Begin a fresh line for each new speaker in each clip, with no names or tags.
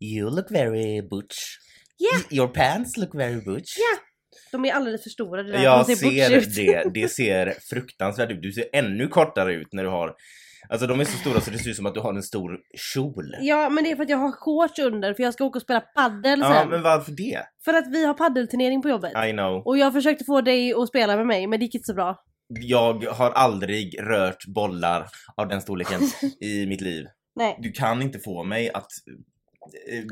You look very butch.
Yeah.
Y- Your pants look very butch.
Yeah. De är alldeles för stora. Det där.
Jag
De
ser
butch ut.
det. Det ser fruktansvärt ut. Du ser ännu kortare ut när du har... Alltså de är så stora så det ser ut som att du har en stor kjol.
Ja men det är för att jag har shorts under för jag ska åka och spela paddel
Ja,
sen.
men varför det?
För att vi har paddelturnering på jobbet.
I know.
Och jag försökte få dig att spela med mig men det gick inte så bra.
Jag har aldrig rört bollar av den storleken i mitt liv.
Nej.
Du kan inte få mig att eh,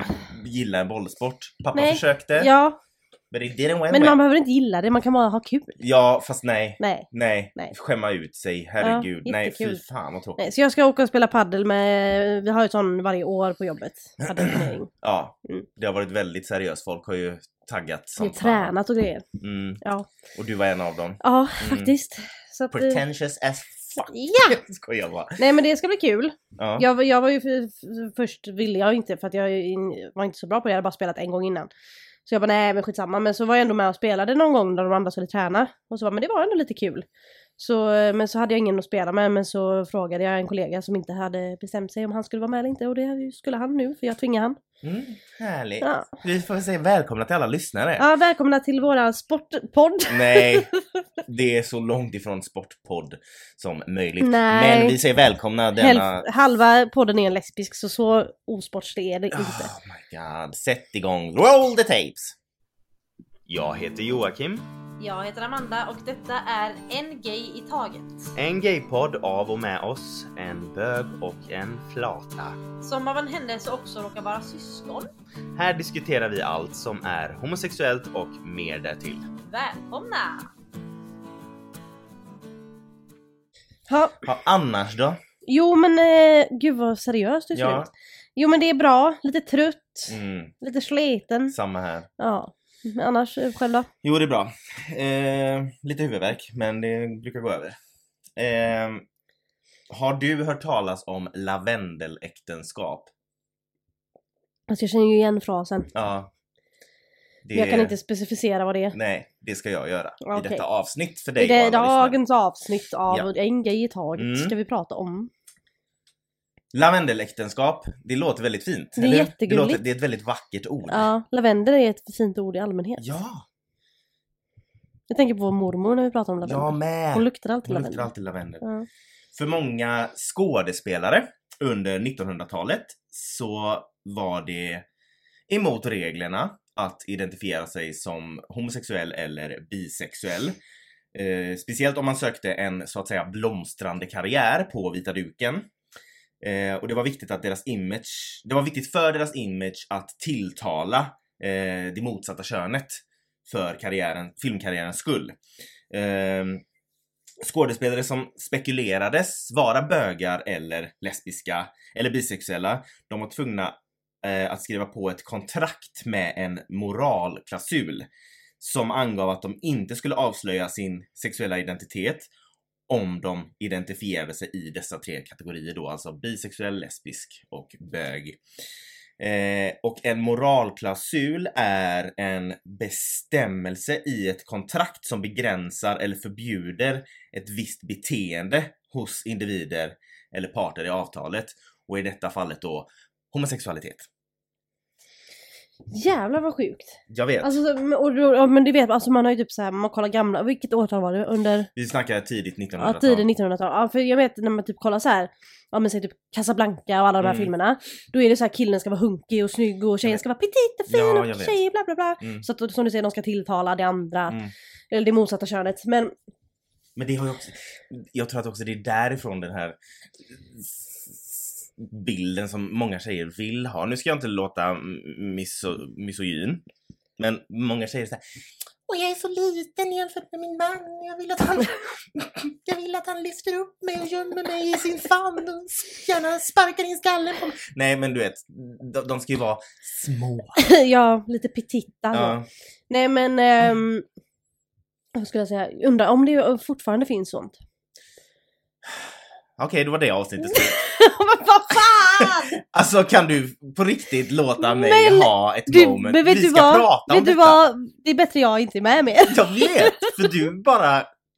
gilla en bollsport. Pappa
Nej.
försökte,
Ja,
but it didn't went
men man
well.
behöver inte gilla det, man kan bara ha kul.
Ja, fast nej.
Nej.
Nej.
Nej.
Skämma ut sig, herregud. nej, fy
jättekul.
fan vad tråkigt.
Nej, så jag ska åka och spela paddel med, vi har ju sån varje år på jobbet. Paddelturnering.
Ja,
Mm.
det har varit väldigt seriöst. Folk har ju taggat
Vi
som
har tränat och grejer.
Mm.
Ja,
Och du var en av dem.
ja
Mm.
faktiskt. Så att, eh,
Pretentious as fuck.
Ja!
Skojar bara.
Nej men det ska bli kul.
Ja.
Jag, var- jag var ju för, för- först ville jag inte för att jag ju in- var inte så bra på det, jag hade bara spelat en gång innan. Så jag bara nej men skitsamma, men så var jag ändå med och spelade någon gång när de andra skulle träna. Och så bara men det var ändå lite kul. Så, eh, men så hade jag ingen att spela med men så frågade jag en kollega som inte hade bestämt sig om han skulle vara med eller inte och det skulle han nu för jag tvingade han.
Mm, härligt.
Ja.
Vi får säga välkomna till alla lyssnare.
Ja, välkomna till våran sportpodd.
Nej, det är så långt ifrån sportpodd som möjligt.
Nej.
Men vi säger välkomna denna...
Hälf- halva podden är lesbisk så så osportslig är det inte.
Oh my god, sätt igång, roll the tapes! Jag heter Joakim,
Jag heter Amanda och detta är En Gay i Taget.
en gaypodd av och med oss, en bög och en flata.
Som av en händelse också råkar vara syskon.
Här diskuterar vi allt som är homosexuellt och mer därtill.
Välkomna! Ja,
Ja, annars då?
jo men eh, gud vad seriöst du ser
Ja.
ut. Jo men det är bra, lite trött,
Mm,
lite sliten.
samma här.
Ja, men annars eh, själv då?
Jo, det är bra. Eh, lite huvudvärk, men det brukar gå över. Eh, har du hört talas om lavendeläktenskap?
Alltså jag känner ju igen frasen.
Ja. Det...
Men Jag kan inte specificera vad det är.
Nej, det ska jag göra i
Okej.
detta avsnitt för dig
I
och alla
det,
lyssnare.
dagens avsnitt av
Ja.
En Gay i Taget
Mm.
ska vi prata om.
Lavendeläktenskap, det låter väldigt fint.
Det är
eller? det,
jättegulligt.
låter, det är ett väldigt vackert ord.
Ja, lavendel är ett fint ord i allmänhet.
ja,
Jag tänker på vår mormor när vi pratar om lavendel.
jag med.
Hon luktar alltid
Hon
lavendel.
luktar alltid lavendel.
Ja.
För många skådespelare under 1900-talet så var det emot reglerna att identifiera sig som homosexuell eller bisexuell. Eh, speciellt om man sökte en så att säga blomstrande karriär på vita duken. Eh, och det var viktigt att deras image, det var viktigt för deras image att tilltala eh, det motsatta könet för karriären, filmkarriärens skull. Ehm, skådespelare som spekulerades vara bögar eller lesbiska eller bisexuella, de var tvungna eh, att skriva på ett kontrakt med en moralklausul som angav att de inte skulle avslöja sin sexuella identitet om de identifierade sig i dessa tre kategorier då, alltså bisexuell, lesbisk och bög. Eh, och en moralklausul är en bestämmelse i ett kontrakt som begränsar eller förbjuder ett visst beteende hos individer eller parter i avtalet och i detta fallet då homosexualitet.
Jävlar vad sjukt.
Jag vet,
Alltså, men- och, då- ja, men du vet, alltså man har ju typ såhär, man kollar gamla, vilket årtal var det? Under
vi snackar tidigt 1900-tal.
ja, tiden 1900-tal. Ja, för jag vet när man typ kollar så här, ja men säg typ Casablanca och alla de här
Mm.
filmerna. Då är det så här killen ska vara hunkig och snygg och tjejen
vet.
ska vara petit och fin
Ja, jag
och
vet.
tjej bla bla bla.
Mm.
Så att som du säger, de ska tilltala det andra,
Mm.
eller det motsatta könet. Men
Men det har ju också, jag tror att också det är därifrån den här bilden som många tjejer vill ha. Nu ska jag inte låta m- miso, misogyn, men många tjejer säger och jag är så liten jämfört med min man. Jag vill, att han, jag vill att han lyfter upp mig och gömmer mig i sin famn och gärna sparkar in skallen på mig. Nej men du vet, de, de ska ju vara små.
ja, lite petita så.
Ja.
Nej men, ehm, vad skulle jag säga, undrar om det fortfarande finns sånt.
Okej, då var det avsnittet slut.
Men vad fan!
Alltså kan du på riktigt låta mig
Men
ha ett
Du,
moment?
men vet
Vi
du
ska
vad?
prata om
vet du
detta.
vad? Det är bättre jag inte är med mer.
Jag vet! För du bara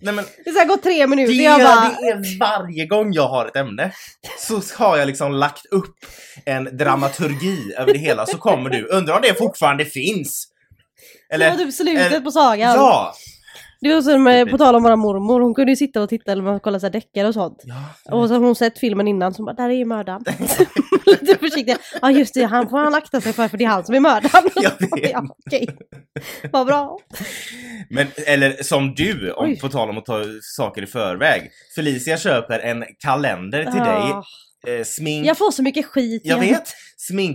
Nej, men
Det har så här gått tre
det,
minuter, jag
är,
bara...
det är varje gång jag har ett ämne så har jag liksom lagt upp en dramaturgi över det hela så kommer du, undrar om det fortfarande finns?
Det var
Eller?
typ slutet
eller-
på sagan.
Ja!
Det var som, eh, på tal om våra mormor, hon kunde ju sitta och titta eller kolla så här deckare och sånt.
ja.
Och så har hon sett filmen innan som bara, där är ju mördaren. Lite försiktig. Ja just det, han får han akta sig för för det är han som är mördaren.
Jag vet.
ja, okej. Vad bra.
Men, eller som du, om,
Oj.
på tal om att ta saker i förväg. Felicia köper en kalender till
Ah,
dig. Eh, smink,
Jag får så mycket skit.
jag
igen.
vet!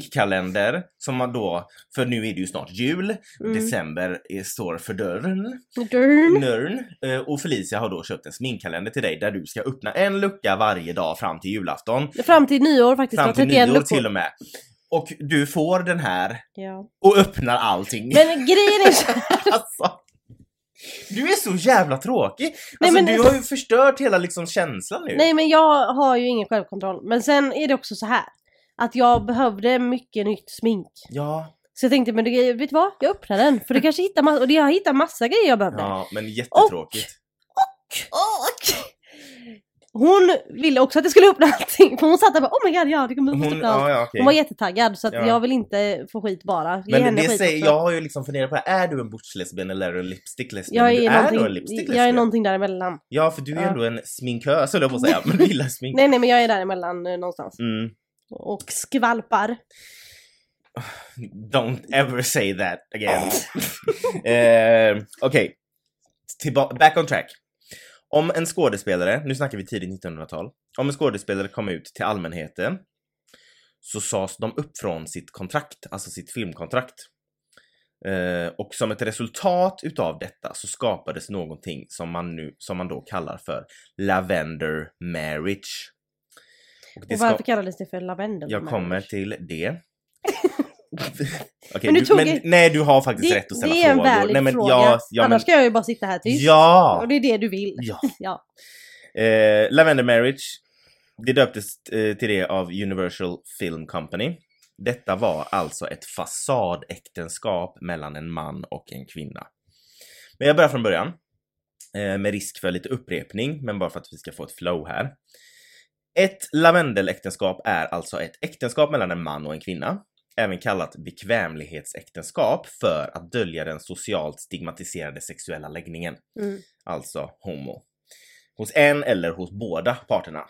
Sminkkalender som man då, för nu är det ju snart jul,
Mm.
december är, står för dörren,
Dörn.
nörn, eh, och Felicia har då köpt en sminkkalender till dig där du ska öppna en lucka varje dag fram till julafton.
Fram till nyår faktiskt.
Fram
då,
till
31
nyår
luckor.
till och med. Och du får den här
Ja.
och öppnar allting.
Men grejen är så-
Alltså, du är så jävla tråkig! Alltså,
Nej, men-
Du har ju förstört hela liksom, känslan nu.
Nej men jag har ju ingen självkontroll. Men sen är det också så här. Att jag behövde mycket nytt smink.
Ja,
Så jag tänkte, men det, vet du vad? Jag öppnar den. För du kanske hittar massa, och det- jag hittar massa grejer jag behövde.
ja, men jättetråkigt.
Och hon ville också att jag skulle öppna allting. För hon satt där och bara oh my god ja, det kommer att
Hon,
öppna allt.
ja, ja, okej.
Hon var jättetaggad så att
Ja.
jag vill inte få skit bara. Ge
Men
henne
det
skit
säger,
också.
jag har ju liksom funderat på det här. är du en butch lesbian eller är du en lipstick lesbian?
jag
du
är,
är
någonting,
då en lipstick lesbian.
jag är någonting däremellan.
Ja, för du är
Ja.
ändå en sminkös höll jag på att säga, men du gillar smink.
Nej nej men jag är däremellan eh, någonstans.
Mm.
Och skvalpar.
Don't ever say that again. eh, Okej, Tillba- back on track. Om en skådespelare, nu snackar vi tidigt 1900-tal, om en skådespelare kom ut till allmänheten så sades de upp från sitt kontrakt, alltså sitt filmkontrakt. Eh, och som ett resultat utav detta så skapades någonting som man, nu, som man då kallar för Lavender Marriage. Och det
Och
ska-
varför kallades det för lavendel?
jag kommer till det. Okej,
Men du
du,
tog
men,
ett-
nej du har faktiskt
det,
rätt att ställa
det är en
frågor.
valid
nej, men,
fråga.
Ja, ja, men,
Annars ska jag ju bara sitta här tyst.
ja,
Och det är det du vill.
ja.
Ja.
Eh, Lavender Marriage, det döptes eh, till det av Universal Film Company. Detta var alltså ett fasadäktenskap mellan en man och en kvinna. Men jag börjar från början. Eh, med risk för lite upprepning, men bara för att vi ska få ett flow här. Ett lavendeläktenskap är alltså ett äktenskap mellan en man och en kvinna. Även kallat bekvämlighetsäktenskap för att dölja den socialt stigmatiserade sexuella läggningen
Mm.
alltså homo. Hos en eller hos båda parterna.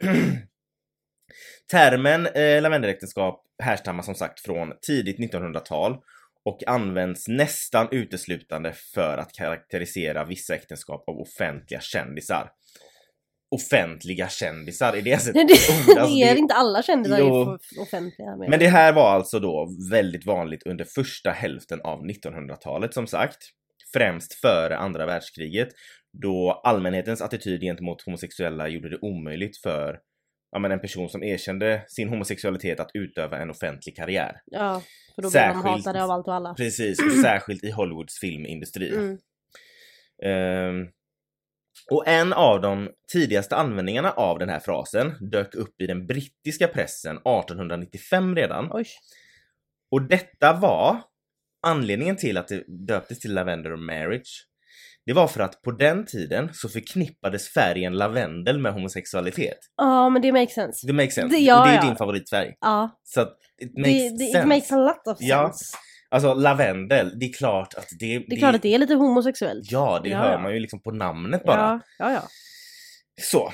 Termen eh, lavendeläktenskap härstammar som sagt från tidigt 1900-tal och används nästan uteslutande för att karaktärisera vissa äktenskap av offentliga kändisar. Offentliga kändisar, är det ens ett
Nej, det,
ord? Alltså,
det är
det-
inte alla kändisar
Jo.
jo. offentliga.
men det här var alltså då väldigt vanligt under första hälften av 1900-talet som sagt. Främst före andra världskriget då allmänhetens attityd gentemot homosexuella gjorde det omöjligt för ja, men en person som erkände sin homosexualitet att utöva en offentlig karriär.
Ja, för då blir
Särskilt-
de hatade av allt och alla.
Precis, och särskilt i Hollywoods filmindustri.
Mm.
Ehm, och en av de tidigaste användningarna av den här frasen dök upp i den brittiska pressen 1895 redan.
Oj.
Och detta var anledningen till att det döptes till Lavender Marriage. Det var för att på den tiden så förknippades färgen lavendel med homosexualitet.
Ja, men det makes sense.
Det makes sense.
Det- ja,
och det är
ja.
din favoritfärg.
Ja,
Så att it makes
det, det,
sense.
it makes a lot of
Ja.
sense.
Alltså lavendel, det är klart att det...
Det är klart att det är lite homosexuellt.
Ja, det
Ja,
hör
ja.
man ju liksom på namnet bara.
Ja, ja, ja.
Så.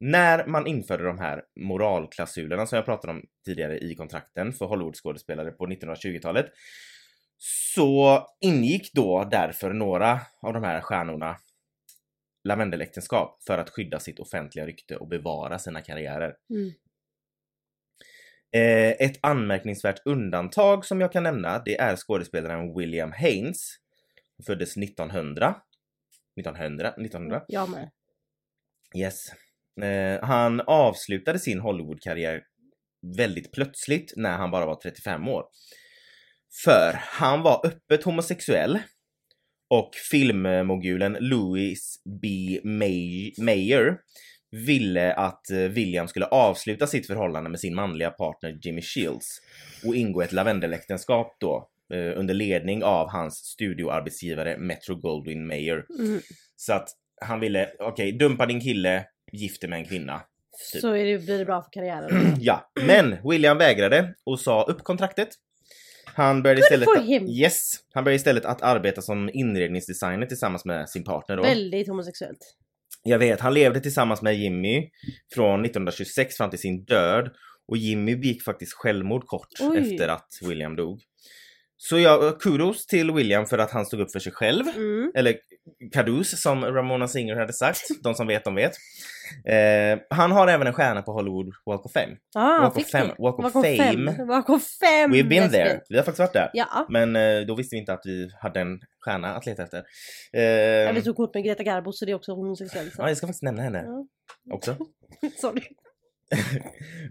När man införde de här moralklausulerna som jag pratade om tidigare i kontrakten för Hollywoodskådespelare på 1920-talet så ingick då därför några av de här stjärnorna lavendeläktenskap för att skydda sitt offentliga rykte och bevara sina karriärer.
Mm.
Eh, ett anmärkningsvärt undantag som jag kan nämna, det är skådespelaren William Haynes. Han föddes 1900. 1900? 1900?
Jag med.
Yes. Eh, han avslutade sin Hollywood-karriär väldigt plötsligt när han bara var 35 år. För han var öppet homosexuell och filmmogulen Louis B. May- Mayer ville att eh, William skulle avsluta sitt förhållande med sin manliga partner Jimmy Shields och ingå ett lavendeläktenskap då eh, under ledning av hans studioarbetsgivare Metro Goldwyn Mayer.
Mm.
Så att han ville, okej, dumpa din kille, gift dig med en kvinna. Typ.
Så är det, blir det bra för karriären.
Ja, men William vägrade och sa upp kontraktet. Han började istället,
for him.
yes, han började istället att arbeta som inredningsdesigner tillsammans med sin partner. Då.
Väldigt homosexuellt.
Jag vet, han levde tillsammans med Jimmy från 1926 fram till sin död. Och Jimmy begick faktiskt självmord kort
Oj.
efter att William dog. Så jag, kudos till William för att han stod upp för sig själv.
Mm.
Eller Caduce som Ramona Singer hade sagt. De som vet, de vet. Eh, han har även en stjärna på Hollywood Walk of Fame.
Ah,
Walk of
fick
fame-
ni?
Walk of
fame.
fame.
Walk of fame.
We've been
älskling.
there. Vi har faktiskt varit där.
Ja.
Men eh, då visste vi inte att vi hade en stjärna att leta efter. Eh,
Jag vill tog kort med Greta Garbo så det är också homosexuellt.
ja, jag ska faktiskt nämna henne
Ja.
också.
Sorry.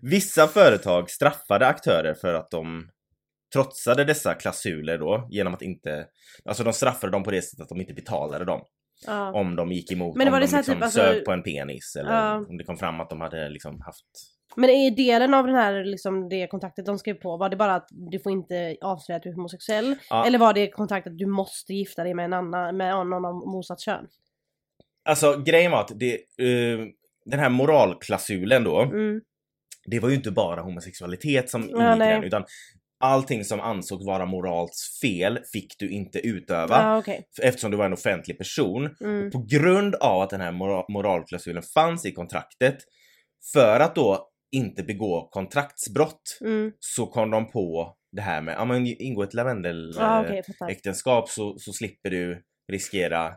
Vissa företag straffade aktörer för att de trotsade dessa klausuler då genom att inte, alltså de straffade dem på det sättet att de inte betalade dem.
Ja.
Om de gick emot,
Men
om
var det
de
så här
liksom
typ, alltså-
sög på en penis eller
Ja.
om det kom fram att de hade liksom haft
Men i delen av den här, liksom, det kontraktet de skrev på, var det bara att du får inte avslöja att du är homosexuell?
Ja.
Eller var det kontraktet att du måste gifta dig med, en annan, med någon av motsatt kön?
Alltså grejen var att det, eh, den här moralklausulen då,
Mm.
det var ju inte bara homosexualitet som ingick
Ja,
i
nej.
den utan allting som ansågs vara moralt fel fick du inte utöva
Ja, okej.
eftersom du var en offentlig person.
Mm.
På grund av att den här mora- moralklausulen fanns i kontraktet, för att då inte begå kontraktsbrott
Mm.
så kom de på det här med, ja men ingå ett
Ja, okej, jag fattar.
lavendeläktenskap så, så slipper du riskera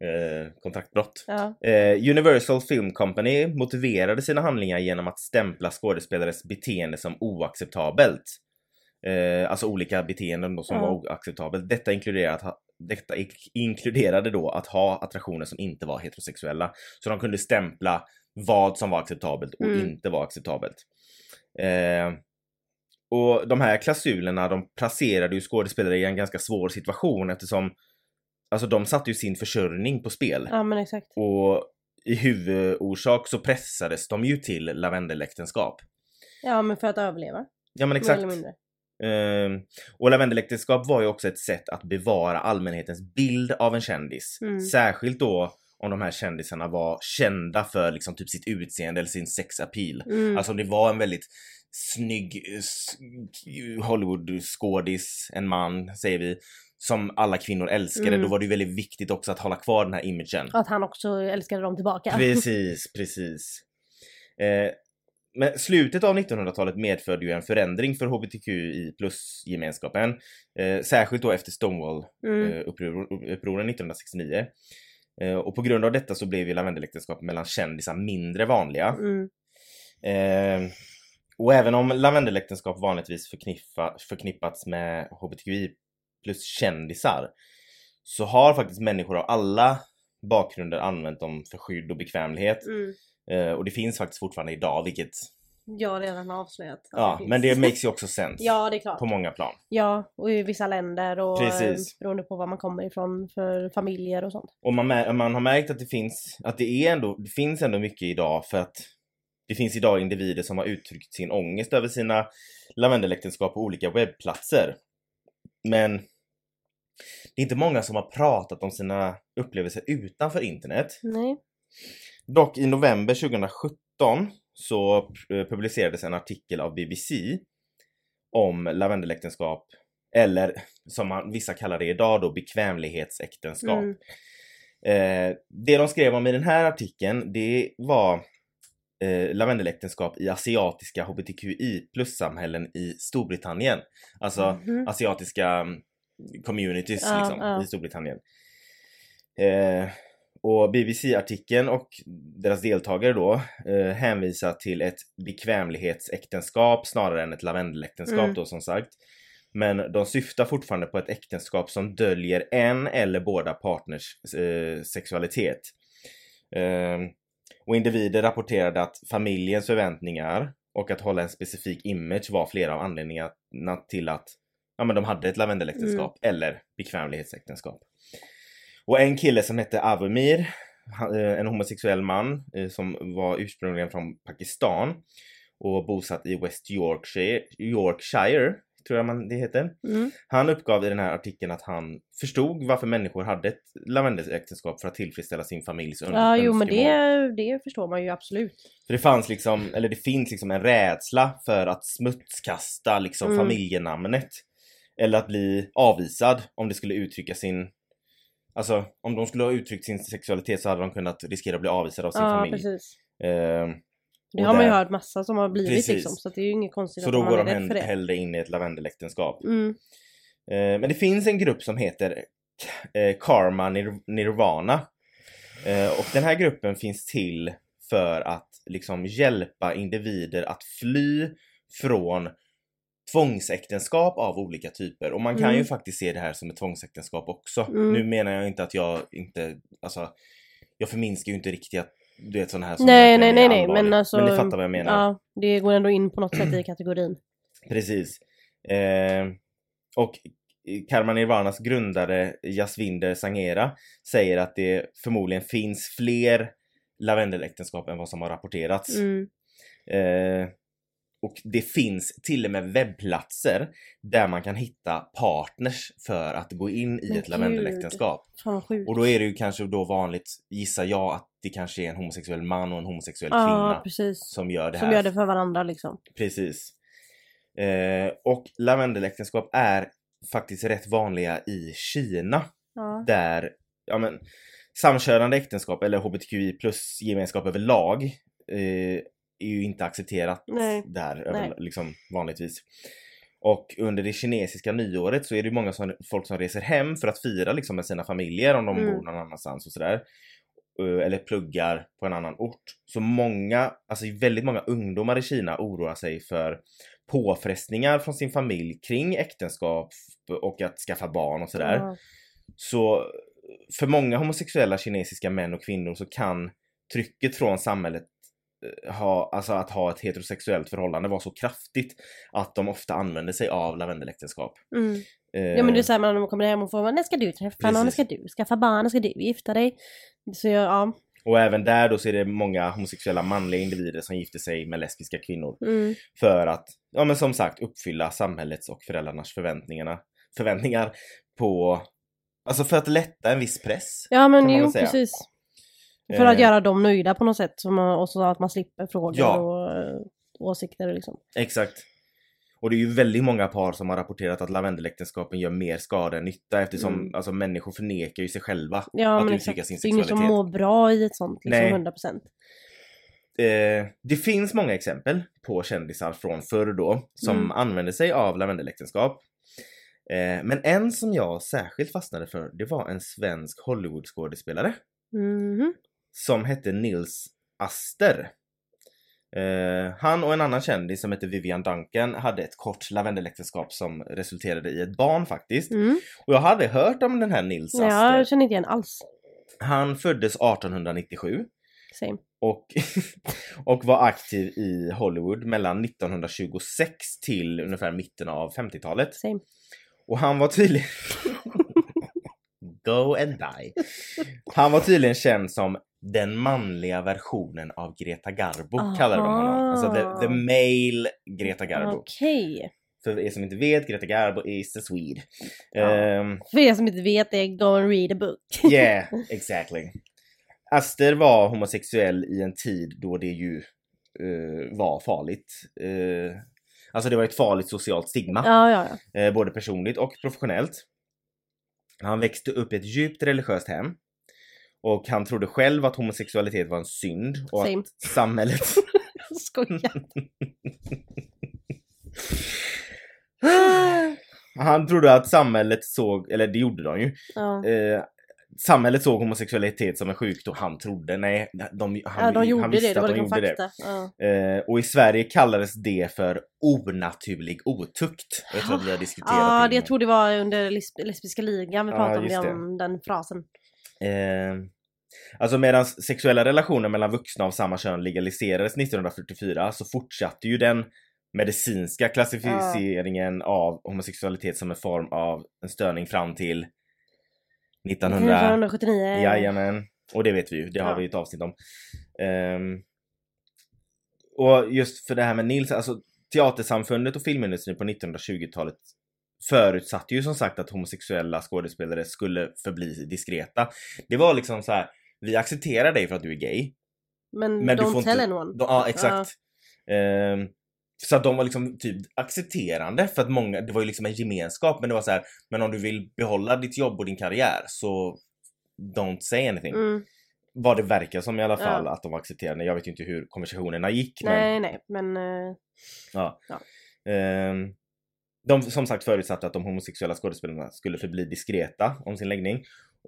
eh, kontraktbrott.
Ja.
Eh, Universal Film Company motiverade sina handlingar genom att stämpla skådespelares beteende som oacceptabelt. Eh, alltså olika beteenden då som
Ja.
var oacceptabelt. Detta inkluderade, att ha, detta ik- inkluderade då att ha attraktioner som inte var heterosexuella. Så de kunde stämpla vad som var acceptabelt och
Mm.
inte var acceptabelt. Eh, och de här klausulerna de placerade ju skådespelare i en ganska svår situation eftersom Alltså de satte ju sin försörjning på spel.
ja, men exakt.
Och i huvudorsak så pressades de ju till lavendeläktenskap.
Ja, men för att överleva. mer
Ja men exakt.
eller mindre.
Ehm, och lavendeläktenskap var ju också ett sätt att bevara allmänhetens bild av en kändis.
Mm.
Särskilt då om de här kändisarna var kända för liksom typ sitt utseende eller sin sexappeal.
Mm.
Alltså om det var en väldigt snygg eh, s- Hollywood-skådis, en man säger vi, som alla kvinnor älskade,
Mm.
då var det ju väldigt viktigt också att hålla kvar den här imagen.
Att han också älskade dem tillbaka.
Precis, precis. Eh, men slutet av 1900-talet medförde ju en förändring för hbtqi plus-gemenskapen. Eh, särskilt då efter eh,
Mm.
Stonewall-upproren 1969. Eh, och på grund av detta så blev ju lavendeläktenskap mellan kändisar mindre vanliga.
Mm.
Eh, och även om lavendeläktenskap vanligtvis förknippa, förknippats med hbtqi plus kändisar så har faktiskt människor av alla bakgrunder använt dem för skydd och bekvämlighet.
Mm.
Eh, och det finns faktiskt fortfarande idag vilket,
Jag har redan avslöjat. att
ja
finns.
men det makes ju också sense.
Ja, det är klart.
På många plan.
Ja, och i vissa länder och
Precis.
eh, beroende på var man kommer ifrån för familjer och sånt.
Och man, mär- man har märkt att det finns, att det är ändå, det finns ändå mycket idag för att det finns idag individer som har uttryckt sin ångest över sina lavendeläktenskap på olika webbplatser. Men det är inte många som har pratat om sina upplevelser utanför internet.
Nej.
Dock i november 2017 så eh, publicerades en artikel av BBC om lavendeläktenskap eller som man, vissa kallar det idag då bekvämlighetsäktenskap.
Mm.
Eh, det de skrev om i den här artikeln det var eh, lavendeläktenskap i asiatiska hbtqi plus samhällen i Storbritannien. Alltså
Mhm.
asiatiska mm, communities
Ja,
liksom,
ja.
i Storbritannien. Eh, och BBC-artikeln och deras deltagare då eh, hänvisar till ett bekvämlighetsäktenskap snarare än ett lavendeläktenskap
Mm.
då som sagt. Men de syftar fortfarande på ett äktenskap som döljer en eller båda partners eh, sexualitet. Eh, och individer rapporterade att familjens förväntningar och att hålla en specifik image var flera av anledningarna till att ja, men de hade ett lavendeläktenskap eller bekvämlighetsäktenskap. Och en kille som hette Avamir, han- eh, en homosexuell man eh, som var ursprungligen från Pakistan och bosatt i West Yorkshire, Yorkshire tror jag man det heter.
Mm.
Han uppgav i den här artikeln att han förstod varför människor hade ett lavendeläktenskap för att tillfredsställa sin familjs öns-
Ja, jo men
önskemål.
det, det förstår man ju absolut.
För det fanns liksom, eller det finns liksom en rädsla för att smutskasta liksom
Mm.
familjenamnet. Eller att bli avvisad om det skulle uttrycka sin Alltså om de skulle ha uttryckt sin sexualitet så hade de kunnat riskera att bli avvisade av sin
Ja,
familj.
precis.
Ehm,
Det
och
har man ju
där-
hört massa som har blivit
Precis.
liksom. Så att det är ju inget konstigt
Så
att
då
man
går
är
de
rädd för
hen-
det.
hellre in i ett lavendeläktenskap.
Mm.
Eh, men det finns en grupp som heter eh, Karma Nir- Nirvana. Eh, och den här gruppen finns till för att liksom hjälpa individer att fly från tvångsäktenskap av olika typer. Och man kan
Mm.
ju faktiskt se det här som ett tvångsäktenskap också.
Mm.
Nu menar jag inte att jag inte, alltså, jag förminskar ju inte riktigt att du vet sådana här som
Nej,
verkligen
nej,
är
nej, nej.
allvarligt.
Men alltså.
Men ni fattar vad jag menar. Mm.
Ja, det går ändå in på något sätt i kategorin.
Precis. Eh, och Karma Nirvanas grundare Jasvinder Sangera säger att det förmodligen finns fler lavendeläktenskap än vad som har rapporterats.
Mm.
Eh, och det finns till och med webbplatser där man kan hitta partners för att gå in i
Men
ett lavendeläktenskap.
Fan vad sjukt.
Och då är det ju kanske då vanligt, gissar jag, att det kanske är en homosexuell man och en homosexuell
Ja,
kvinna
precis.
som gör det här.
Som gör det för varandra liksom.
Precis. Eh, och lavendeläktenskap är faktiskt rätt vanliga i Kina
Ja.
där ja, men, samkönade äktenskap eller hbtqi plus gemenskap överlag eh, är ju inte accepterat
Nej.
där
Nej.
över, liksom, vanligtvis. Och under det kinesiska nyåret så är det ju många som, folk som reser hem för att fira liksom, med sina familjer om de
Mm.
bor någon annanstans och sådär. Eh, Eller pluggar på en annan ort. Så många, alltså väldigt många ungdomar i Kina oroar sig för påfrestningar från sin familj kring äktenskap och att skaffa barn och sådär.
Ja.
Så för många homosexuella kinesiska män och kvinnor så kan trycket från samhället eh, ha, alltså att ha ett heterosexuellt förhållande vara så kraftigt att de ofta använder sig av lavendeläktenskap.
Mm.
Eh,
Ja men det är såhär när man kommer hem och får man, när ska du träffa någon, när ska du skaffa barn, när ska du gifta dig? Så jag, ja.
Och även där då så är det många homosexuella manliga individer som gifter sig med lesbiska kvinnor
Mm.
för att, ja men som sagt, uppfylla samhällets och föräldrarnas förväntningarna, förväntningar på, alltså för att lätta en viss press.
Ja men
man väl
jo
säga.
precis. För att
Eh.
göra dem nöjda på något sätt som, man- och så att man slipper frågor
Ja.
och eh, åsikter liksom.
Exakt. Och det är ju väldigt många par som har rapporterat att lavendeläktenskapen gör mer skada än nytta eftersom
Mm,
alltså, människor förnekar ju sig själva
Ja
att
men
uttrycka
exakt.
sin
Det är ingen som
sexualitet.
mår bra i ett sånt liksom
Nej.
100%.
Eh, det finns många exempel på kändisar från förr då som
Mm.
använde sig av lavendeläktenskap. Eh, men en som jag särskilt fastnade för det var en svensk Hollywoodskådespelare
Mhm.
som hette Nils Aster. Eh, han och en annan kändis som hette Vivian Duncan hade ett kort lavendeläktenskap som resulterade i ett barn faktiskt.
Mm.
Och jag hade hört om den här Nils
Nej,
Aster.
jag känner inte igen alls.
Han föddes 1897
Same.
och, och var aktiv i Hollywood mellan 1926 till ungefär mitten av 50-talet.
Same.
Och han var tydligen... Go and die. Han var tydligen känd som den manliga versionen av Greta Garbo kallar de honom.
Aha.
Alltså the, the male Greta Garbo.
Okej.
För er som inte vet, Greta Garbo is a Swede.
Ja.
Ehm,
För er som inte vet det, go and read a book.
Yeah, exactly. Aster var homosexuell i en tid då det ju eh, var farligt. Eh, alltså det var ett farligt socialt stigma,
ja, ja, ja.
eh, både personligt och professionellt. Han växte upp i ett djupt religiöst hem. Och han trodde själv att homosexualitet var en synd och
Same.
att samhället...
Skojar.
han trodde att samhället såg, eller det gjorde de ju,
Ja.
eh, samhället såg homosexualitet som en sjukdom. Han trodde, nej, de, han,
ja, de
han
gjorde
visste
det, det
att
var
de
liksom
gjorde det.
fakta. Ja.
Eh, och i Sverige kallades det för onaturlig otukt. Jag tror att vi har diskuterat
Ja,
det
det jag tror det var under lesb- lesbiska ligan vi
Ja,
pratade
just
om,
det.
det, om den frasen.
Eh, alltså medan sexuella relationer mellan vuxna av samma kön legaliserades 1944 så fortsatte ju den medicinska klassificeringen av homosexualitet som en form av en störning fram till 1900...
1979.
Jajamän. Och det vet vi ju, det har
Eh. Ja.
vi ju ett avsnitt om. Ehm, och just för det här med Nils, alltså Teatersamfundet och filmindustrin på 1920-talet förutsatte ju som sagt att homosexuella skådespelare skulle förbli diskreta. Det var liksom så här, vi accepterar dig för att du är gay.
Men,
Men du
don't
får
tell
inte-
anyone.
De, ja, exakt. Ehm, så att de var liksom typ accepterande för att många, det var ju liksom en gemenskap men det var så här, men om du vill behålla ditt jobb och din karriär så don't say anything.
Mm.
Vad det verkar som i alla
Ja.
fall att de var accepterande. Jag vet ju inte hur konversationerna gick men
Nej, nej, men... eh,
Ehm, de som sagt förutsatte att de homosexuella skådespelarna skulle förbli diskreta om sin läggning.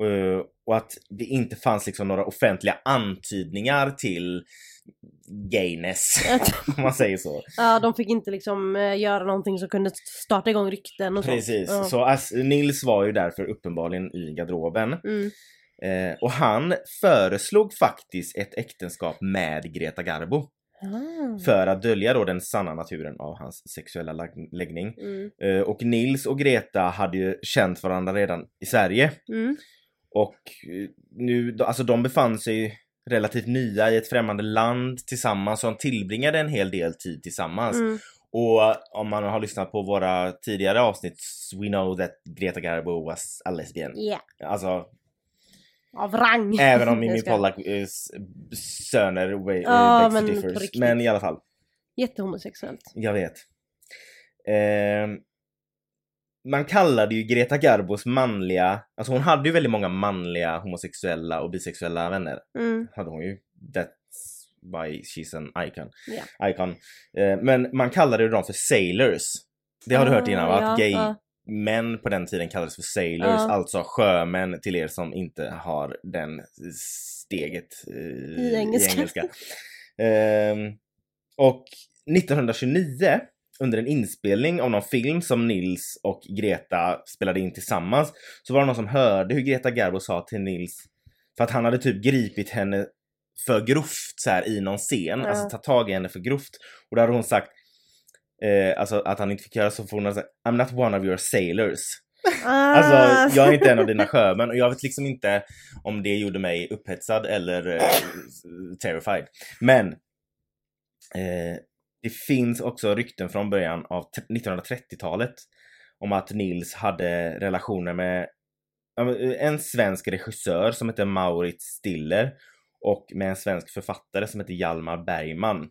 Eh, och att det inte fanns liksom några offentliga antydningar till gayness, om man säger så.
ja, de fick inte liksom eh, göra någonting som kunde starta igång rykten och sånt.
Precis.
Ja.
Så As- Nils var ju därför uppenbarligen i garderoben.
Mm.
Eh, och han föreslog faktiskt ett äktenskap med Greta Garbo.
Ah.
För att dölja då den sanna naturen av hans sexuella lag- läggning.
Mm.
Eh, och Nils och Greta hade ju känt varandra redan i Sverige.
Mm.
Och eh, nu, då- alltså de befann sig relativt nya i ett främmande land tillsammans, så de tillbringade en hel del tid tillsammans.
Mm.
Och eh, om man har lyssnat på våra tidigare avsnitt, we know that Greta Garbo was a lesbian.
Yeah.
Alltså,
Av rang.
även om
Jag
Mimmi
skojar.
Pollak eh, s- söner way,
Ja,
ja,
men på
differs.
riktigt.
Men i alla fall.
Jättehomosexuellt.
Jag vet. Ehm, man kallade ju Greta Garbos manliga, alltså hon hade ju väldigt många manliga homosexuella och bisexuella vänner.
Mm.
Hade hon ju. That's why she's an icon.
Ja.
icon. Eh, men man kallade ju dem för sailors. Det har du hört innan va?
Ah, Ja,
Att gay
ja.
män på den tiden kallades för sailors,
Ja.
alltså sjömän till er som inte har den steget eh,
I engelska.
Ehm, och 1929 under en inspelning av någon film som Nils och Greta spelade in tillsammans så var det någon som hörde hur Greta Garbo sa till Nils för att han hade typ gripit henne för grovt så här i någon scen,
Ja.
alltså tagit tag i henne för grovt. Och då hade hon sagt eh, alltså att han inte fick göra så för hon hade sagt I'm not one of your sailors.
Ah.
Alltså jag är inte en av dina sjömän och jag vet liksom inte om det gjorde mig upphetsad eller eh, terrified. Men eh, det finns också rykten från början av t- 1930-talet om att Nils hade relationer med ja, men, eh, en svensk regissör som heter Mauritz Stiller och med en svensk författare som heter Hjalmar Bergman.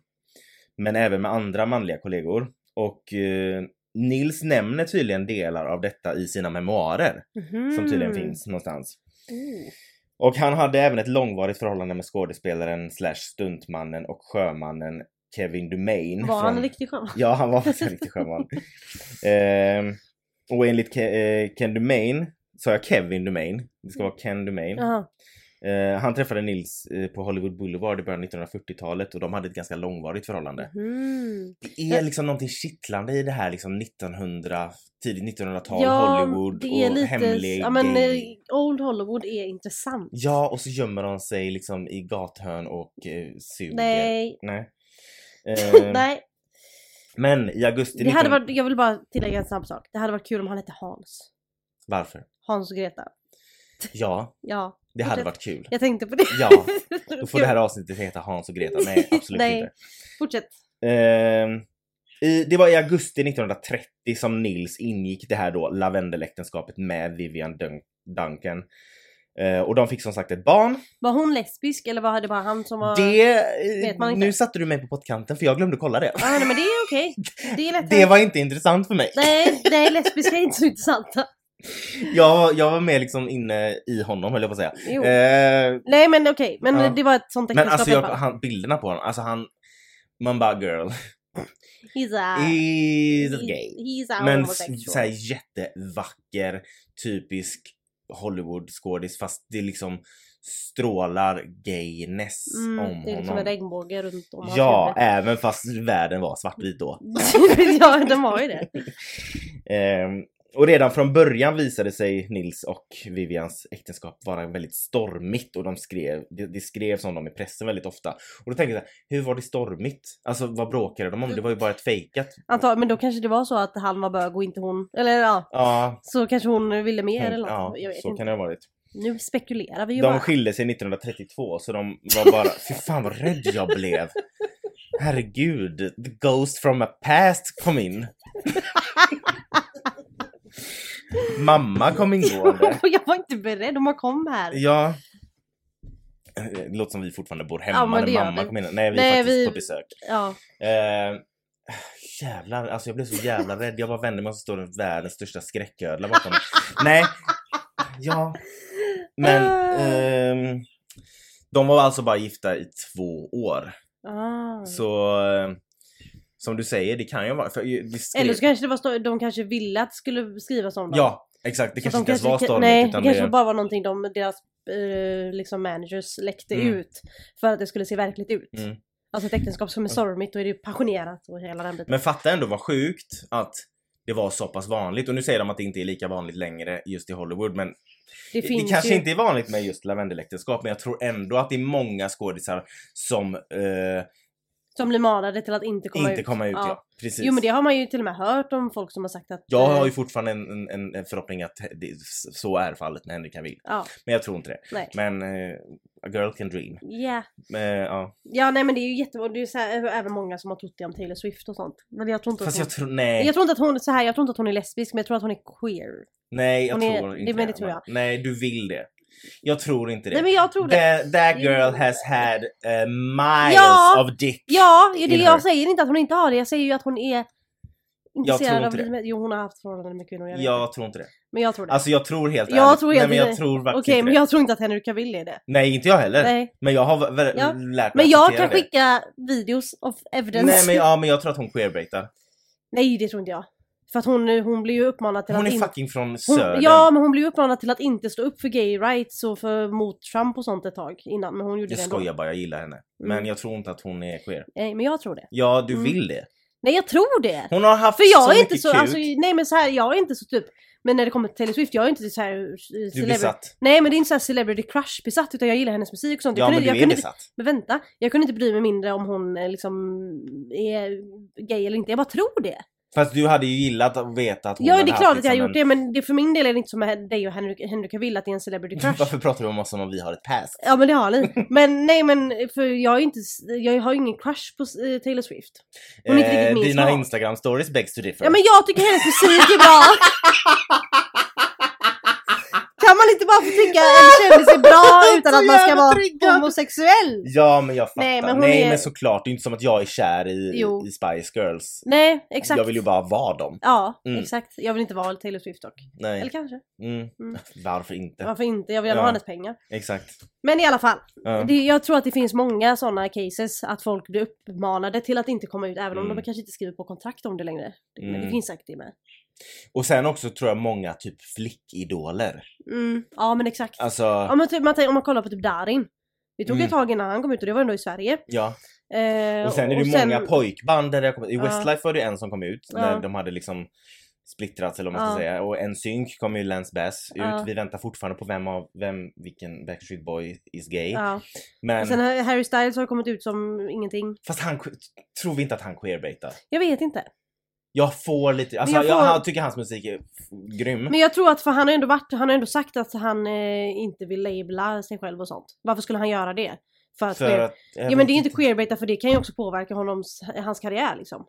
Men även med andra manliga kollegor. Och eh, Nils nämner tydligen delar av detta i sina memoarer
Mhm.
som tydligen finns någonstans.
Mm.
Och han hade även ett långvarigt förhållande med skådespelaren slash stuntmannen och sjömannen Kevin Dumain.
Var han en riktig skön?
Ja, han var faktiskt en riktig sjöman. Ehm, och enligt Ke- eh, Ken Dumain, sa jag Kevin Dumain? Det ska vara Ken Dumain.
Mm. Ja.
Eh, han träffade Nils eh, på Hollywood Boulevard i början av 1940-talet och de hade ett ganska långvarigt förhållande.
Mm.
Det är liksom någonting kittlande i det här liksom 1900, tidigt 1900-tal, Hollywood och hemlig
ja, men,
gay-
eh, Old Hollywood är intressant.
Ja, och så gömmer de sig liksom i gathörn och eh, suger.
Nej.
Nej. Eh,
Nej,
Men i augusti...
det hade
19
varit, jag vill bara tillägga en snabb sak. Det hade varit kul om han hette Hans.
Varför?
Hans och Greta.
Ja,
Ja,
det hade
Fortsätt.
varit kul.
jag tänkte på det.
Ja, då får det här avsnittet heta Hans och Greta. Nej, absolut
Nej.
inte.
Fortsätt.
Ehm, i, det var i augusti 1930 som Nils ingick det här då lavendeläktenskapet med Vivian Dun- Duncan. Eh, och de fick som sagt ett barn.
Var hon lesbisk eller var det bara han som var...
Det...
vet man
eh,
inte.
Nu satte du mig på pottkanten för jag glömde kolla det.
Ah, nej, men det är okej. Det är lätt
Det
hänt.
var inte intressant för mig.
Nej, nej, lesbiska är inte så intressanta.
Jag, jag var med liksom inne i honom höll jag på att
Jo.
säga. Eh,
Nej men okej, men
Ja.
det var ett sånt
men
äktenskap
alltså
i
jag,
alla fall.
han, bilderna på honom, alltså han... Man bara girl,
He's a...
is it gay?
He's a
Men
homosexual.
såhär jättevacker, typisk Hollywood-skådis fast det liksom strålar gayness
Mm,
om
det är liksom
honom.
en regnbåge runt om hans
ja, eh.
huvud.
även fast världen var svartvit då.
ja, den var ju det.
Ehm, och redan från början visade sig Nils och Vivians äktenskap vara väldigt stormigt och de skrev, det, det skrevs om dem i pressen väldigt ofta. Och då tänker jag så här, hur var det stormigt? Alltså vad bråkade de om? Det var ju bara ett fejkat.
Antagligen, men då kanske det var så att han var bög och inte hon. Eller ja,
Ja,
så kanske hon ville mer
tänk-
eller något.
ja
jag vet
så
inte.
kan det ha varit.
Nu spekulerar vi ju
De
bara.
skilde sig 1932 så de var bara, fy fan vad rädd jag blev. Herregud, the ghost from a past kom in. Mamma kom ingående.
jag var inte beredd, de bara kom här.
Ja. Eh, Det låter som vi fortfarande bor hemma
Ja, men det
när
gör
mamma
vi.
kom in. Nej, vi är
Nej,
faktiskt
vi-
på besök.
Ja.
Eh, jävlar, alltså jag blev så jävla rädd. Jag bara vände mig och så står det världens största skräcködla bakom mig. Nej, ja. Men
Ah.
ehm, de var alltså bara gifta i två år.
Ah.
Så eh, som du säger, det kan ju vara... För, ju- det skrev,
Eller så kanske det var sto- de kanske ville att det skulle skrivas om dem.
Ja, exakt. Det
Så
kanske
de
inte ens var
kanske-
stormigt.
Nej,
utan
det kanske
det,
bara var någonting de, deras eh, liksom managers läckte
Mm.
ut. För att det skulle se verkligt ut.
Mm.
Alltså ett äktenskap som är stormigt, då är det ju passionerat och hela den biten.
Men fatta ändå vad sjukt att det var så pass vanligt. Och nu säger de att det inte är lika vanligt längre just i Hollywood. Men
det
Det,
finns
kanske
ju...
inte är vanligt med just lavendeläktenskap men jag tror ändå att det är många skådisar som eh,
Som blir manade till att inte komma
inte
ut.
kommer ut. Ja. Precis.
Jo men det har man ju till och med hört om folk som har sagt att...
Jag har
eh,
ju fortfarande en, en- en, en förhoppning att det, så är fallet med Henrik Cavill.
Ja,
Men jag tror inte det.
nej.
Men eh, a girl can dream.
Ja.
Eh, ja.
Ja nej men det är ju jättebra, det är ju så här, även många som har trott det om Taylor Swift och sånt. Men jag tror inte
Fast
att
jag
hon...
tror, nej.
Jag tror inte att hon, så här, jag tror inte att hon är lesbisk men jag tror att hon är queer.
nej, jag
hon är-
tror
det-
inte
men det tror jag.
Nej, du vill det. Jag tror inte det.
Nej men jag tror det. Mm.
That, that girl
Jo.
has had eh, miles
Ja.
of dick.
Ja, det är det
in her.
jag säger inte att hon inte har det. Jag säger ju att hon är
tror
intresserad av
inte det.
livet. Jo hon har haft förhållanden med kvinnor, jag vet
Jag
inte.
tror inte det.
Men jag tror det.
Alltså jag tror helt
Jag
ärligt-
tror
nej,
helt-
men jag tror faktiskt
Okej
inte
men
det.
jag tror inte att Henrik Cavill är det.
Nej, inte jag heller.
Nej.
Men jag har väl
Ja.
lärt mig
Men
att
jag
acceptera
kan skicka videos of
det.
evidence.
Nej men, ja, men jag tror att hon queerbaitar.
Nej, det tror inte jag. För att hon, hon blir ju uppmanad till
Hon
att
är
inte...
fucking från södern.
Hon, ja men hon blev ju uppmanad till att inte stå upp för gay rights och för mot Trump och sånt ett tag innan. Men hon gjorde
jag
det ändå.
skojar bara, jag gillar henne. Men jag tror inte att hon är queer.
Nej men jag tror det.
Ja, du
Mm.
vill det.
Nej jag tror det!
Hon har haft
För jag
så
är
mycket
inte så,
kuk.
alltså, nej men så här, jag är inte så typ, men när det kommer till Taylor Swift, jag är inte så här eh,
du är
celebrity.
besatt.
Nej men det är inte så här celebrity crush besatt utan jag gillar hennes musik och sånt. Jag
Ja
kunde,
men du
jag
är
kunde,
besatt.
Men vänta, jag kunde inte bry mig mindre om hon eh, liksom är gay eller inte, jag bara tror det.
Fast du hade ju gillat att veta att hon
Ja
hade
det är
haft
klart att
liksom
jag har
en-
gjort det men det, för min del är det inte som med dig och Henrik, Henrik Cavill att det är en celebrity crush.
Varför pratar du om oss som om vi har ett past?
Ja men det har ni. Men nej men för jag, är inte, jag har ju ingen crush på eh, Taylor Swift. Hon är inte riktigt min
Eh, dina
smak.
instagram stories begs to differ.
Ja men jag tycker hennes musik är bra. Kan man inte bara få tycka en kändis är bra utan
Så
att man ska
jävla
vara
triggad.
homosexuell?
Ja, men jag fattar. Nej
Nej, men
men,
hon är-
såklart, det är inte som att jag är kär i,
Jo.
i Spice Girls.
Nej exakt.
Jag vill ju bara vara dem.
Ja
Mm.
exakt. Jag vill inte vara Taylor Swift dock. Eller
Nej.
kanske.
Mm.
Mm.
Varför inte?
Varför inte? Jag vill gärna
Ja.
ha hennes pengar.
Exakt.
Men i alla fall.
Ja.
Det, jag tror att det finns många sådana cases att folk blir uppmanade till att inte komma ut även om
Mm.
de kanske inte skriver på kontrakt om det längre. Men
Mm.
det finns säkert det med.
Och sen också tror jag många typ flickidoler.
Mm. Ja men exakt.
Alltså,
Ja, men typ, man, tänker- om man kollar på typ Darin. Det tog
Mm.
ett tag innan han kom ut och det var ändå i Sverige.
ja.
Eh,
Och sen är det ju många pojkband där det har kommit. I
Ja.
Westlife var det ju en som kom ut när
Ja.
de hade liksom splittrats eller vad man ska
Ja.
säga. Och en synk kom ju Lance Bass ut.
Ja.
Vi väntar fortfarande på vem av, vem, vilken Backstreet Boy is gay.
Ja.
Men,
Och sen har Harry Styles har kommit ut som ingenting.
fast han, tror vi inte att han queerbaitar?
Jag vet inte.
Mm. Jag får lite, alltså jag,
jag får-
han tycker hans musik är f- grym.
Men jag tror att, för han har ändå varit, han har ändå sagt att han eh, inte vill labla sig själv och sånt. Varför skulle han göra det? För att,
för att,
Ja men det är inte queerbaita för det kan ju också påverka honoms, hans karriär liksom.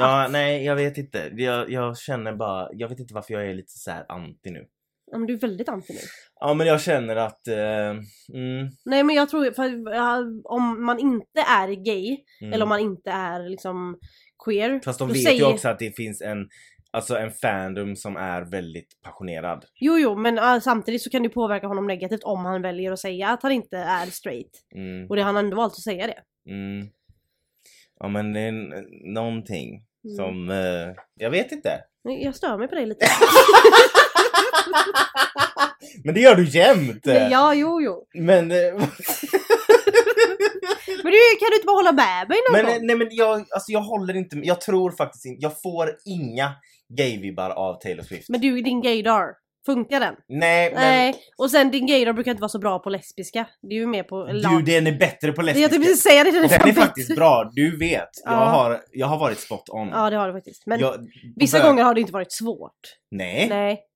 Ja, nej jag vet inte. Jag, jag känner bara, jag vet inte varför jag är lite så här anti nu.
Ja, men du är väldigt anti nu.
Ja men jag känner att, eh, mm,
Nej men jag tror, för, ja, om man inte är gay,
mm.
eller om man inte är liksom queer.
Fast de
då
vet ju
säger-
också att det finns en, alltså en fandom som är väldigt passionerad.
Jo, jo, men ah, samtidigt så kan det ju påverka honom negativt om han väljer att säga att han inte är straight.
Mm,
Och det han har ändå valt att säga det.
mm. Ja men det är n- någonting
Mm.
som, eh, jag vet inte.
Nej, Jag stör mig på dig lite.
Men det gör du jämt! eh.
ja, jo, jo.
Men, eh,
Men du, kan du inte bara hålla med mig någon
men, eh,
gång?
nej, men jag, alltså jag håller inte, jag tror faktiskt inte, jag får inga gay-vibbar av Taylor Swift.
Men du, din gaydar. Funkar den?
nej men
Nej. Och sen din gaydar brukar inte vara så bra på lesbiska. Det är ju mer på...
du den är bättre på
Jag
lesbiska.
tänkte precis säga det. Den
Den är
fan
faktiskt
bättre.
bra, du vet. Jag,
Ja.
har, jag har varit spot on.
Ja, det har du faktiskt. Men
jag,
vissa
bör- Eh?
gånger har det inte varit svårt.
Nej.
Nej.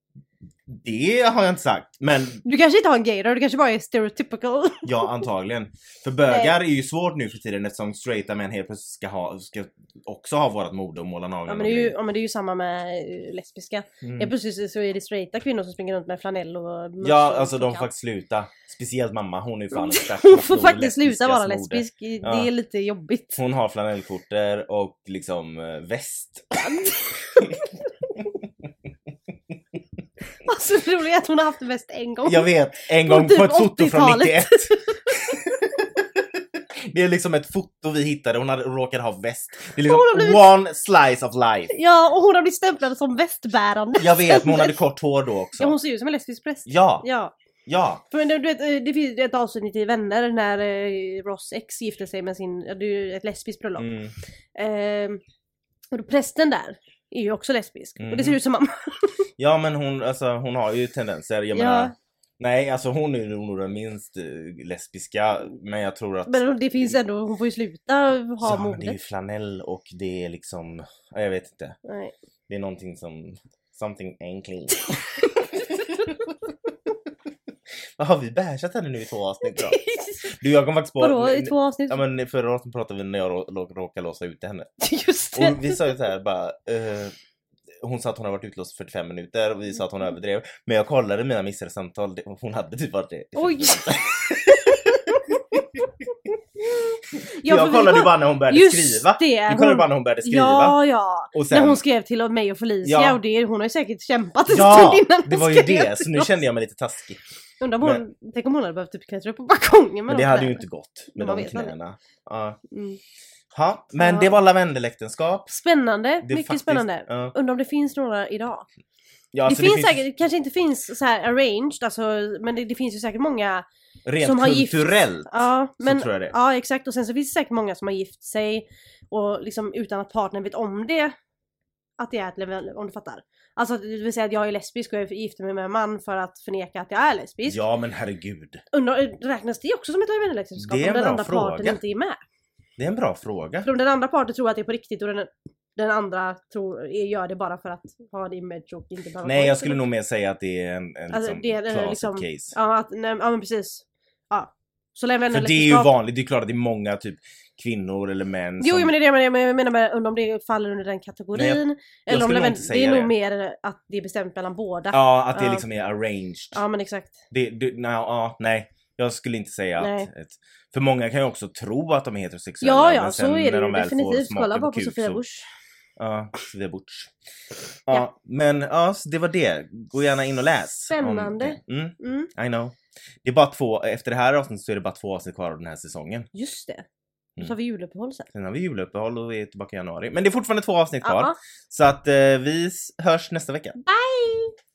Det har jag inte sagt. Men
Du kanske inte har en gaydar, du kanske bara är stereotypical.
ja, antagligen. För bögar är ju svårt nu för tiden eftersom straighta män helt plötsligt ska, ha, ska också ha vårat mode och måla
Ja
naglarna.
men, det är ju, ja men det är ju samma med eh, lesbiska.
Mm.
Ja, precis, så är det straighta kvinnor som springer runt med flanell och mössa
Ja, alltså
och
de
kallt.
får faktiskt sluta. Speciellt mamma, hon är ju fan expert på
Hon
att
får
sno
faktiskt sluta
lesbiskas
vara
mode.
lesbisk, det
Ja.
är lite jobbigt.
Hon har flanellskjortor och liksom eh, väst.
Alltså det roliga är att hon har haft det bäst en gång.
Jag vet, en
På
gång
typ
på ett foto från
80-talet.
91. Det är liksom ett foto vi hittade, hon hade, råkade ha väst. Det är liksom
Hon har blivit-
one slice of life.
Ja, och hon har blivit stämplad som västbärande.
Jag vet, men hon hade kort hår då också.
Ja, hon ser ju ut som en lesbisk präst.
Ja,
Ja.
ja.
För du vet, eh, det finns ju ett avsnitt i Vänner när eh, Ross ex gifte sig med sin, ja, det är ju ett lesbiskt bröllop.
Mm.
Ehm, och då prästen där är ju också lesbisk. Och det ser
Mhm.
ut som mamma.
Ja men hon, alltså, hon har ju tendenser. Jag
Ja.
menar, nej alltså hon är nog den minst eh, lesbiska. Men jag tror att...
Men det finns ändå, hon får ju sluta ha
Ja, men Mm. det är ju
modet.
flanell och det är liksom, ja, jag vet inte.
Nej.
Det är någonting som, something ankling. Vad har vi bärsat henne nu i två avsnitt då? Du jag kom faktiskt på...
Vadå, i två avsnitt?
Ja men i förra avsnittet pratade vi när jag rå- rå- råkade låsa ut henne.
Just det.
Och vi sa ju såhär bara... eh, hon sa att hon har varit utlåst i 45 minuter och vi sa att
Mm.
hon överdrev. Men jag kollade mina missade samtal, det- hon hade typ varit det.
Oj!
jag
för vi
kollade
var-
bara när hon började
Just
skriva.
Det,
Vi kollade
hon-
bara när hon började skriva.
Ja, ja.
och sen,
När hon skrev till mig och Felicia
Ja.
och det, hon har ju säkert kämpat en
Ja,
stund innan hon
det var ju
skrev
det.
till
Så nu
oss.
kände jag mig lite taskig.
Undrar om hon, tänk om hon hade behövt typ klättra upp på balkongen med
Men det
de
hade ju
kläderna.
inte gått med
Man
de
vet aldrig.
knäna. Ja.
Mm.
Ha, men
Ja.
det var lavendeläktenskap.
Spännande,
Det är
mycket
faktiskt-
spännande.
ja.
Undrar om det finns några idag?
Ja,
det,
alltså
finns säkert, kanske inte finns så här arranged, alltså, men det, det finns ju säkert många
rent
som har gift-
kulturellt.
Ja, men,
så tror jag det.
ja exakt och sen så finns det säkert många som har gift sig och liksom utan att partnern vet om det att det är ett level, om du fattar. Alltså att- det vill säga att jag är lesbisk och jag gifter mig med en man för att förneka att jag är lesbisk.
Ja men herregud.
Undrar, räknas det också som ett
Det är
vännerläktenskap
en
om den
bra
andra parten
fråga.
inte är med?
Det är en bra fråga.
För om den andra parten tror att det är på riktigt och den, den andra tror, gör det bara för att ha en image och inte behöva
Nej jag skulle nog mer säga att det är en, en
Alltså,
liksom,
det är, eh,
classic
liksom-
case.
Ja, att, nej, ja men precis. Ja. Så länge
För det är ju vanligt, det är klart att det är många typ kvinnor eller män
Jo,
som...
men det är det jag menar. Jag menar- jag menar med, undrar om det faller under den kategorin.
Nej,
eller om
skulle
det,
nog
men,
inte
det är
säga
nog
det.
mer att det är bestämt mellan båda. Ja,
Ja, att det
Ja.
liksom är arranged.
men exakt.
Det, det, nej, ja, nej, jag skulle inte säga
Nej.
att... Ett, för många kan ju också tro att de är heterosexuella
Ja,
men
ja,
sen
så är
när
det
de
ju
väl får
definitivt.
smaken
Kolla bara på
kuk
Sofia
så-
Busch.
Ja, Sofia Butch. Ja,
Ja.
men ja, så det var det. Gå gärna in och läs. om
Spännande.
det. Mm,
Mm,
I know. Det är bara två, efter det här avsnittet så är det bara två avsnitt kvar av den här säsongen.
just det. Då
Mm.
tar vi juluppehåll sen.
Sen har vi juluppehåll och vi är tillbaka i januari. Men det är fortfarande två avsnitt kvar.
Ja,
Så att eh, vi s- hörs nästa vecka.
Bye!